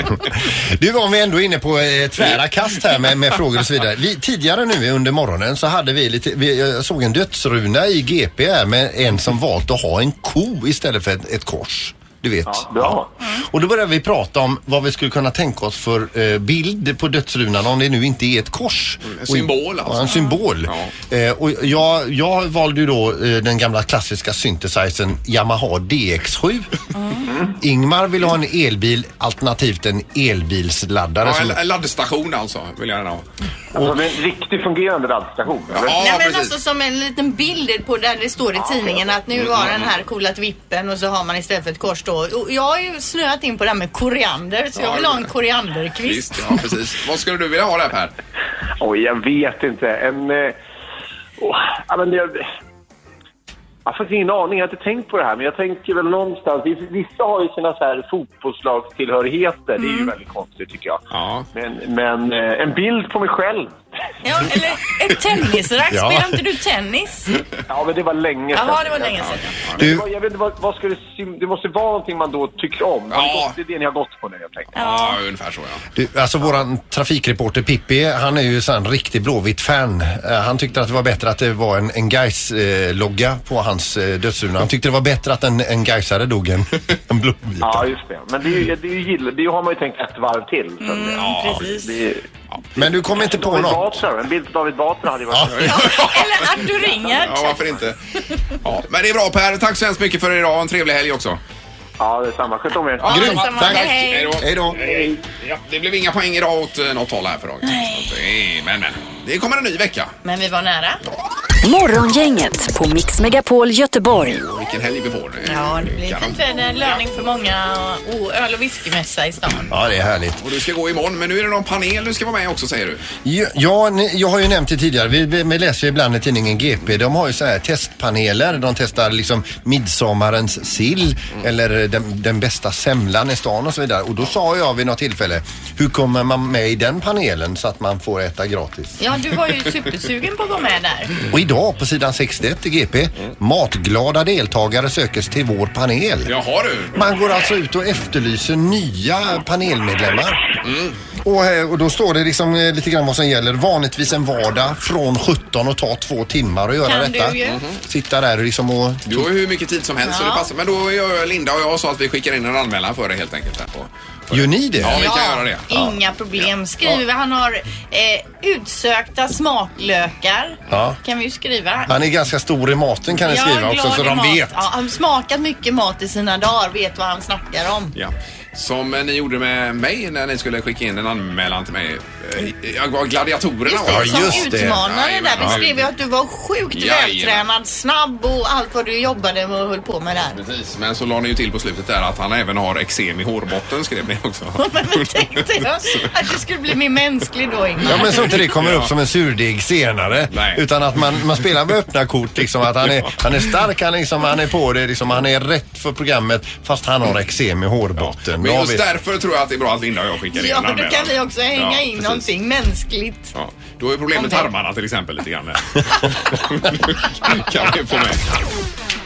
S10: helt
S5: du, om vi ändå är inne på eh, tvära kast här med, med frågor och så vidare. Vi, tidigare nu under morgonen så hade vi lite... Vi, jag såg en dödsruna i GP här med en som valt att ha en ko istället för ett, ett kors. Du vet.
S10: Ja, bra.
S5: Och då började vi prata om vad vi skulle kunna tänka oss för eh, bild på dödsrunan om det nu inte är ett kors.
S3: en symbol
S5: Och,
S3: alltså.
S5: ja, en symbol. Eh, och jag, jag valde ju då eh, den gamla klassiska synthesizern Yamaha DX7.
S3: Mm.
S5: Ingmar vill ha en elbil alternativt en elbilsladdare.
S3: Ja,
S5: som-
S3: en, en laddstation alltså, vill jag gärna ha.
S10: Alltså, en riktigt fungerande laddstation?
S3: Ja,
S4: Nej men
S3: precis.
S4: alltså som en liten bild på där det står i tidningen att nu har den här coolat vippen och så har man istället för ett kors då. Och jag har ju snöat in på det här med koriander så jag
S3: Ja,
S4: vill ha
S3: det-
S4: en korianderkvist.
S3: Visst, ja precis. Vad skulle du vilja ha där Per?
S10: Oj, jag vet inte. En... Eh, åh, ja, men jag, jag har faktiskt ingen aning. Jag har inte tänkt på det här. Men jag tänker väl någonstans... Vissa har ju sina så här fotbollslagstillhörigheter. Det är
S5: Mm.
S10: ju väldigt konstigt tycker jag. Men, men eh, en bild på mig själv.
S4: Ja, eller ett tennisrack.
S10: Ja.
S4: Spelar inte du tennis?
S10: Ja, men det var länge sedan.
S4: Jaha, det var länge sedan.
S10: Men det var- jag vet inte, vad, vad ska det, sym- det måste vara någonting man då tycker om. Det är det ni har gått på nu, jag tänker.
S3: Ja, ungefär så ja.
S5: Du, alltså våran trafikreporter Pippi, han är ju så här en riktig Blåvitt-fan. Eh, Han tyckte att det var bättre att det var en, en gais eh, logga på hans eh, dödsruna. Han tyckte det var bättre att en, en Gaisare dog än en Blåvitt.
S10: Ja, just det. Men det, är ju, det, är ju gill, det har man ju tänkt ett varv till. Så att-
S8: Mm.
S10: ja, precis. Det, är-
S5: Men du kommer inte på
S10: David
S5: något?
S10: Batra, en bild på David Batra hade ju varit...
S4: Eller Arthur Ringert.
S3: Ja, varför inte? Ja, men det är bra Per. Tack så hemskt mycket för idag och en trevlig helg också.
S10: Ja, detsamma. Sköt om er.
S3: Ja,
S10: Grymt.
S3: detsamma.
S10: Tack.
S3: Hej då.
S10: Hej då.
S3: Hej. Ja, det blev inga poäng idag åt eh, något håll här för dagen. Så att, eh, Men, men. Det kommer en ny vecka.
S4: Men vi var nära.
S1: Morgongänget på Mix Megapol Göteborg.
S3: Vilken helg vi får. nu.
S4: Ja, det blir fint väder, löning för många och öl och whiskymässa i stan.
S5: Ja, det är härligt.
S3: Och du ska gå imorgon, men nu är det någon panel du ska vara med också säger du.
S5: Ja, Ja, ni- jag har ju nämnt det tidigare. Vi, vi, vi läser ju ibland i tidningen GP. De har ju så här testpaneler. De testar liksom midsommarens sill eller den, den bästa semlan i stan och så vidare. Och då sa jag vid något tillfälle, hur kommer man med i den panelen så att man får äta gratis?
S4: Ja, du var ju supersugen på att vara med där.
S5: Och idag på sidan 61 i GP, matglada deltagare sökes till vår panel.
S3: Jaha du.
S5: Man går alltså ut och efterlyser nya panelmedlemmar. Och, eh, och då står det liksom eh, lite grann vad som gäller. Vanligtvis en vardag från 17 och ta två timmar att göra
S3: Kan du
S5: detta.
S3: ju.
S5: Mhm. Sitta där och liksom och...
S3: Du har ju hur mycket tid som helst så
S5: Ja.
S3: det passar. Men då gör Linda och jag så att vi skickar in en anmälan för det helt enkelt. Här på.
S5: Gör ni det?
S3: Ja, vi kan göra det.
S4: Inga problem. Skriver vi. Han har eh, utsökta smaklökar.
S5: Ja.
S4: Kan vi ju skriva.
S5: Han är ganska stor i maten kan ni
S4: Jag är
S5: skriva också
S4: glad
S5: så
S4: i
S5: de
S4: mat.
S5: vet.
S4: Ja, han smakat mycket mat i sina dagar, vet vad han snackar om.
S3: Ja. Som eh, ni gjorde med mig när ni skulle skicka in en anmälan till mig. Eh, Jag var gladiatorerna
S4: Just det,
S3: var
S4: som utmanare
S3: Jajamän.
S4: där beskrev jag att du var sjukt
S3: Jajamän.
S4: vältränad, snabb och allt vad du jobbade med och höll på med där.
S3: Precis, men så la ni ju till på slutet där att han även har eksem i hårbotten skrev ni också.
S4: Tänkte jag att du skulle bli mer mänsklig då Ingmar.
S5: Ja men så inte det kommer upp som en surdeg senare. Utan att man, man spelar med öppna kort liksom. Att han är, han är stark, han, liksom, han är på det, liksom, han är rätt för programmet fast han har eksem i hårbotten.
S3: Men
S5: Ja,
S3: just
S5: vi-
S3: därför tror jag att det är bra att Linda och jag skickar in
S4: Ja,
S3: en
S4: då
S3: anmälan.
S4: kan vi också hänga
S3: Ja,
S4: in
S3: precis.
S4: någonting mänskligt.
S3: Ja, då är problemet tarmarna till exempel lite grann. kan vi få med.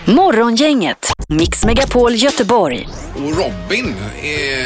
S1: Morgongänget, Mix Megapol Göteborg.
S3: Och Robin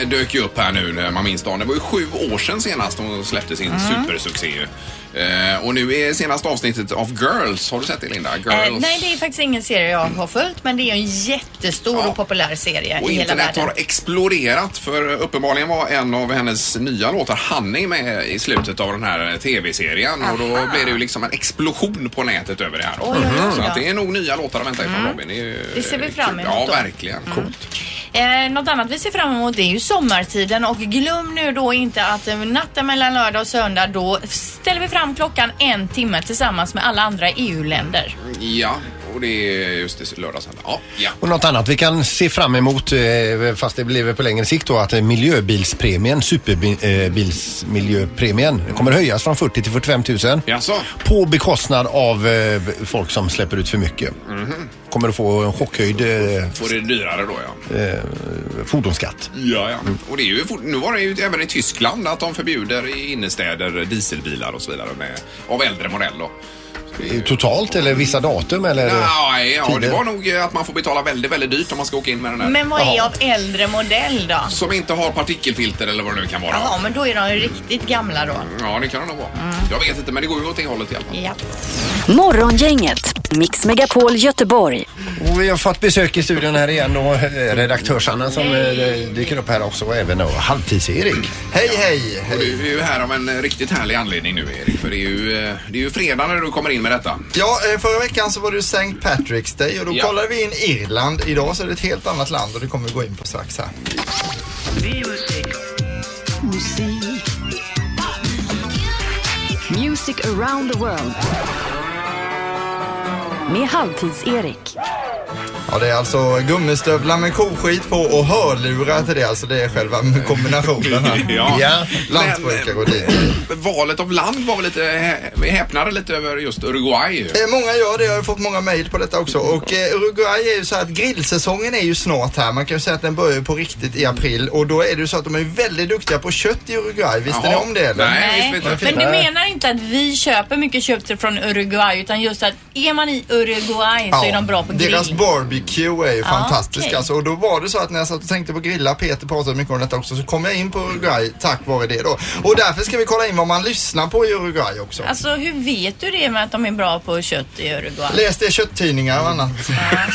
S3: eh, dök ju upp här nu när man minns dagen. Det var ju sju år sedan senast hon släppte
S4: Mm.
S3: sin supersuccé. ju. Eh, och nu är senaste avsnittet av Girls. Har du sett det Linda? Girls.
S4: Eh, nej, det är faktiskt ingen serie jag har följt, men det är ju en jättestor och populär serie
S3: Och
S4: i hela
S3: internet
S4: världen.
S3: har exploderat för uppenbarligen var en av hennes nya låtar Honey med i slutet av den här tv-serien och då blev det ju liksom en explosion på nätet över det här.
S4: Oj, oj, oj. Mm.
S3: Så att det är nog nya låtar att vänta ifrån Robin. Det, är ju
S4: Det ser vi fram emot
S3: Ja,
S4: då. Mm.
S3: verkligen.
S4: Eh, något annat vi ser fram emot det är ju sommartiden och glöm nu då inte att eh, natten mellan lördag och söndag E då ställer vi fram klockan en timme tillsammans med alla andra EU-länder.
S3: Ja, och det är just det, lördag, söndag. Ja, ja.
S5: Och något annat vi kan se fram emot, eh, fast det blir på längre sikt då, att eh, miljöbilspremien, superbilsmiljöpremien, kommer höjas från 40 till 45 000.
S3: Jaså?
S5: På bekostnad av eh, folk som släpper ut för mycket.
S3: Mhm.
S5: Kommer att få en chockhöjd eh,
S3: Får det dyrare då ja.
S5: eh, fordonsskatt.
S3: Ja, ja. Och det är ju fort, nu var det ju även i Tyskland att de förbjuder i innerstäder dieselbilar och så vidare med, av äldre modell då.
S5: Totalt eller vissa datum eller?
S3: Nej, ja, det
S5: tider?
S3: var nog eh, att man får betala väldigt, väldigt dyrt om man ska åka in med den här.
S4: Men vad är av äldre modell då?
S3: Som inte har partikelfilter eller vad det nu kan vara.
S4: Jaha, men då är de ju riktigt gamla då.
S3: Ja, det kan det nog vara.
S8: Mm.
S3: Jag vet inte, men det går ju åt det hållet i alla fall.
S4: Ja.
S1: Morgongänget, Mix Megapol Göteborg.
S5: Och vi har fått besök i studion här igen då. eh, Redaktörs-Anna som eh, dyker upp här också och även då halvtids-Erik.
S3: Hej, hej, hej! Du är ju här av en eh, riktigt härlig anledning nu, Erik. För det är ju, eh, det är ju fredag när du kommer in med detta.
S8: Ja, eh, förra veckan så var det ju St. Patrick's Day och då
S3: Ja.
S8: kollade vi in Irland. Idag så är det ett helt annat land och det kommer vi gå in på strax här.
S1: Musik. Music around the world. Med Halvtids-Erik.
S8: Ja, det är alltså gummistövlar med koskit på och hörlurar till det. Alltså det är själva kombinationen här.
S3: Ja.
S8: Lantbrukare och det.
S3: eh, Valet av land var väl lite, hä- vi häpnade lite över just Uruguay ju.
S8: Eh, Många gör det, jag har ju fått många mejl på detta också. Och eh, Uruguay är ju så här att grillsäsongen är ju snart här. Man kan ju säga att den börjar ju på riktigt i april. Och då är det ju så att de är väldigt duktiga på kött i Uruguay. Visste ni
S3: Jaha.
S8: om det eller?
S4: Nej, men du menar inte att vi köper mycket kött från Uruguay utan just att är man i Uruguay så är de bra på grill.
S8: Deras barbecue är ju
S4: Ja,
S8: fantastisk
S4: okej.
S8: alltså. Och då var det så att när jag satt och tänkte på grilla, Peter pratade mycket om detta också, så kom jag in på Uruguay tack vare det då. Och därför ska vi kolla in vad man lyssnar på i Uruguay också.
S4: Alltså hur vet du det med att de är bra på kött i Uruguay?
S8: Läs det i kötttidningar och annat.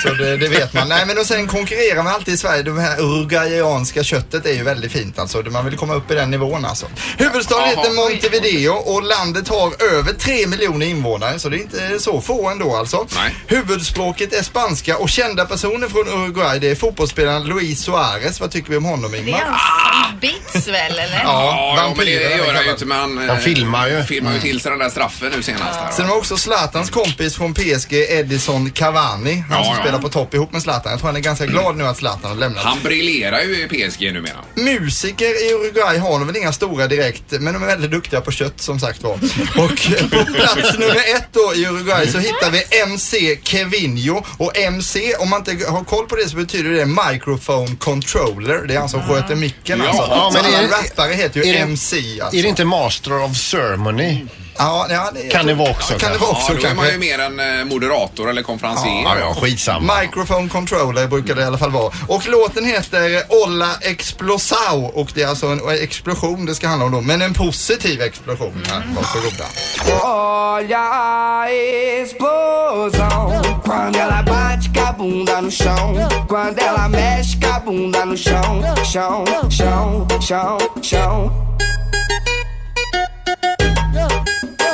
S8: Så det, det vet man. Nej men och sen konkurrerar man alltid i Sverige. Det här uruguayanska köttet är ju väldigt fint alltså. Man vill komma upp i den nivån alltså. Huvudstaden heter Montevideo och landet har över 3 miljoner invånare så det är inte så få ändå alltså. Huvudspråket är spanska och kända personer från Uruguay det är fotbollsspelaren Luis Suarez. Vad tycker vi om honom
S4: Det är
S8: Ingmar?
S4: hans bits väl eller?
S8: Ah! Ja,
S3: ja, men det
S8: vampyrer,
S3: gör
S8: det
S3: han ju
S8: kallas.
S3: inte. Man, eh,
S8: Han filmar ju.
S3: filmar ju till sig den där straffen nu senast. Här,
S8: Sen har också Zlatans kompis från PSG, Edison Cavani. Han
S3: Ja,
S8: som
S3: ja.
S8: spelar på topp ihop med Zlatan. Jag tror han är ganska glad nu att Zlatan har lämnat.
S3: Han briljerar ju i PSG numera.
S8: Musiker i Uruguay har de väl inga stora direkt, men de är väldigt duktiga på kött som sagt var. Och på plats nummer ett då i Uruguay så hittar vi MC Kevinho. Och MC, om man inte har koll på det så betyder det microphone controller. Det är han som sköter micken
S5: Ja,
S8: alltså.
S5: ja,
S8: så
S5: men är
S8: alla
S5: det-
S8: rappare heter ju
S5: är det-
S8: MC alltså.
S5: Är det inte Master of Ceremony?
S8: Ja, ja, det,
S5: Kan det vara också,
S8: Kan det vara också
S3: ja, då är man ju
S8: kanske.
S3: mer en eh, moderator eller konferencier.
S5: Ja, ja, skitsamma.
S8: Microphone controller brukar det i alla fall vara. Och låten heter Olla Explosao och det är alltså en explosion det ska handla om då, men en positiv explosion. Ja, varsågoda.
S12: Olha a explosão Quando ela bate com a bunda no chão Quando ela mexe com a bunda no chão Chão, chão, chão, chão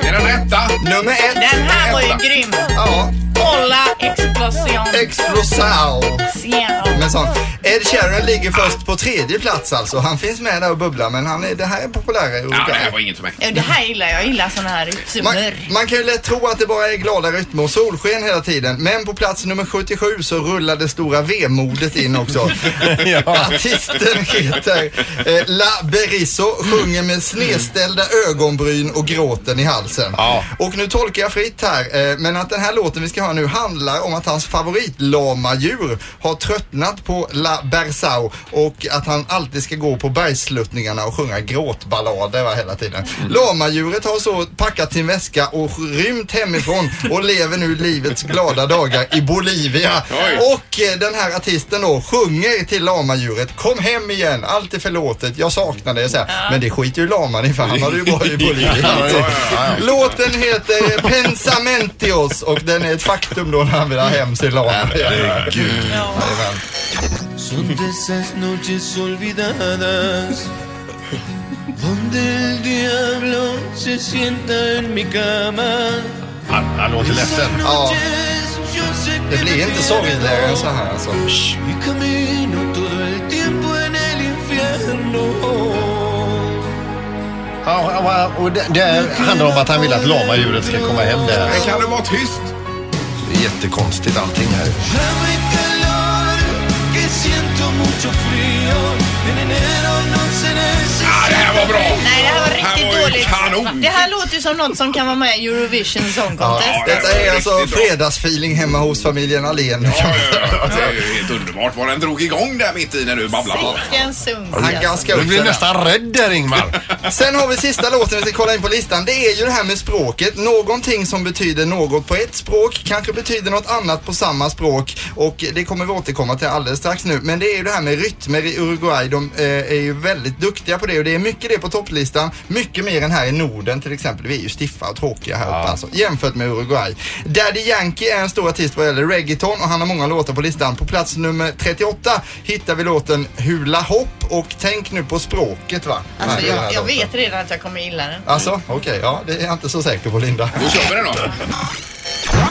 S3: Är den rätta?
S8: Nummer ett.
S4: Den här var ju grym.
S8: Ja.
S4: Kolla explosion.
S8: Explosao.
S4: Ja.
S8: Men sån. Ed Sheeran ligger först på tredje plats alltså. Han finns med där och bubblar men han är, det här är populärare
S3: Ja,
S8: i
S3: det
S8: Uruguay.
S3: här var inget för mig.
S4: Ja, Det här gillar jag. Jag gillar såna här typ
S8: Man,
S4: rytmer.
S8: man kan ju lätt tro att det bara är glada rytmer och solsken hela tiden. Men på plats nummer 77 så rullar det stora vemodet in också. Mm. Artisten heter eh, La Berisso, sjunger med snedställda ögonbryn och gråten i halsen. Och nu tolkar jag fritt här, eh, men att den här låten vi ska höra nu handlar om att hans favoritlamadjur har tröttnat på La Bersau och att han alltid ska gå på bergssluttningarna och sjunga gråtballader va, hela tiden. Lamadjuret har så packat sin väska och rymt hemifrån och lever nu livets glada dagar i Bolivia.
S12: Oj.
S8: Och eh, den här artisten då sjunger till lamadjuret Kom hem igen, allt är förlåtet, jag saknar dig. Så här. Men det skiter ju laman i för han har det ju bra i Bolivia. alltså. Låten heter Pensamentios och den är ett faktum då när han vill ha hem sin lama.
S12: Herregud.
S8: Jajamän.
S12: Son de esas noches olvidadas Donde el diablo se sienta en mi cama
S5: Han, han låter ledsen.
S8: Ja. Det blir inte sorgligare än så här alltså.
S12: Y camino todo el tiempo en el infierno
S5: Ja, ja, och det, det handlar om att han vill att lamadjuret ska komma hem där.
S3: Men kan det vara tyst?
S5: jättekonstigt allting här.
S12: Dame calor, que siento mucho frío. En enero no seré si
S3: Ah, det här var bra!
S4: Nej, det här var riktigt
S3: var ju
S4: dåligt.
S3: kanon.
S4: Det här låter ju som något som kan vara med i Eurovision Song
S8: Ja,
S4: Contest.
S8: detta är alltså fredagsfeeling hemma hos familjen Allén.
S3: Ja, Det är ju helt underbart vad den drog igång där mitt i när du babblade på.
S4: Vilken sunk. alltså.
S8: Haggan ska
S5: Du
S8: upp
S5: blir
S8: sig där.
S5: nästan rädd där Ingmar.
S8: Sen har vi sista låten vi ska kolla in på listan. Det är ju det här med språket. Någonting som betyder något på ett språk kanske betyder något annat på samma språk. Och det kommer vi återkomma till alldeles strax nu. Men det är ju det här med rytmer i Uruguay. De eh, är ju väldigt duktiga på det och det är mycket det på topplistan. Mycket mer än här i Norden till exempel. Vi är ju stiffa och tråkiga här uppe alltså. Jämfört med Uruguay. Daddy Yankee är en stor artist vad gäller reggaeton och han har många låtar på listan. På plats nummer 38 hittar vi låten Hula Hopp och tänk nu på språket va.
S4: Alltså,
S8: Nej, den här
S4: jag, jag
S8: låten.
S4: vet redan att jag kommer gilla den.
S8: Alltså, okej, ja, det är jag inte så säker på Linda.
S3: Då kör vi den då.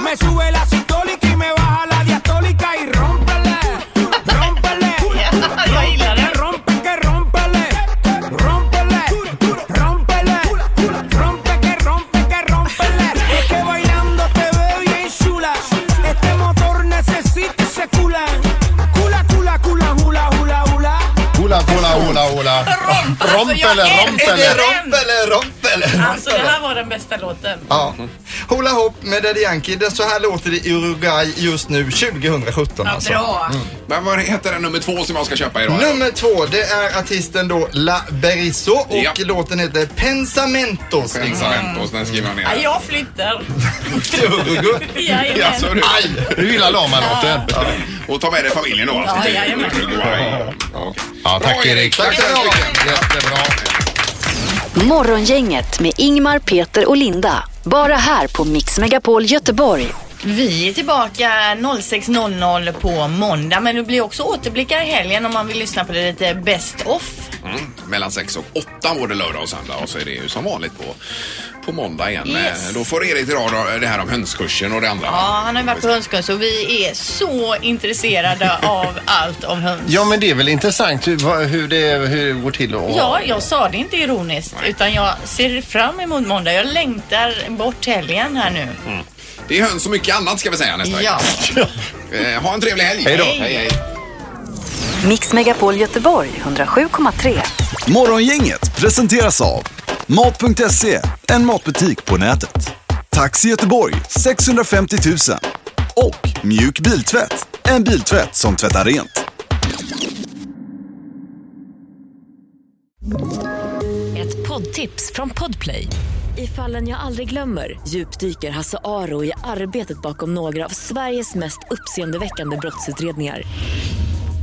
S12: Me sube la sistólica y me baja la diastólica y rómpele, rómpele, rómpele, rompe que rómpele, rómpele, rómpele, rompe que rompe que rómpele. Es que bailando te veo bien chula, este motor necesita ese cula, cula, cula, cula, hula, hula, hula.
S5: Hula, hula, hula, hula. Rompele,
S8: alltså, Är det
S5: rompele.
S8: romp eller romp eller?
S4: Alltså det här var den bästa låten.
S8: Ja. Hula Hopp med Daddy Yankee. Det så här låter det i Uruguay just nu 2017 alltså.
S3: Men vad heter den nummer två som jag ska köpa idag?
S8: Nummer två, det är artisten då La Berisso och
S3: Ja.
S8: låten heter Pensamentos.
S3: Pensamentos, den skriver jag
S4: Ja,
S3: ner.
S4: jag flyttar.
S8: Till Uruguay.
S3: Ja, så
S4: Jajamän.
S3: är det.
S5: Aj, du gillar lamalåten.
S3: Och ta med dig familjen då alltså.
S4: Ja,
S3: till
S4: jajamän.
S3: Uruguay. Ja, okej.
S5: Ja, tack Erik.
S8: Tack ska ni ha.
S5: Jättebra.
S1: Morgongänget med Ingmar, Peter och Linda. Bara här på Mix Megapol Göteborg.
S4: Vi är tillbaka 06.00 på måndag men det blir också återblickar i helgen om man vill lyssna på det lite best off.
S3: Mm. Mellan 6 och 8 var det lördag och söndag och så är det ju som vanligt på, på måndag igen.
S4: Yes.
S3: Eh, Då får Erik idag då, det här om hönskursen och det andra.
S4: Ja, han har ju varit på hönskurs och vi är så intresserade av allt om höns.
S5: Ja, men det är väl intressant hur, vad- hur, det, hur det går till och...
S4: Ja, jag sa det inte ironiskt utan jag ser fram emot måndag. Jag längtar bort helgen här nu.
S3: Det är höns och mycket annat ska vi säga nästa vecka.
S4: Ja.
S3: Eh, Ha en trevlig helg.
S5: Hej då.
S3: Hej, hej.
S1: Mix Megapol Göteborg 107,3.
S2: Morgongänget presenteras av Mat.se, en matbutik på nätet. Taxi Göteborg 650 000 och Mjuk Biltvätt, en biltvätt som tvättar rent.
S13: Ett poddtips från Podplay. I fallen jag aldrig glömmer djupdyker Hasse Aro i arbetet bakom några av Sveriges mest uppseendeväckande brottsutredningar.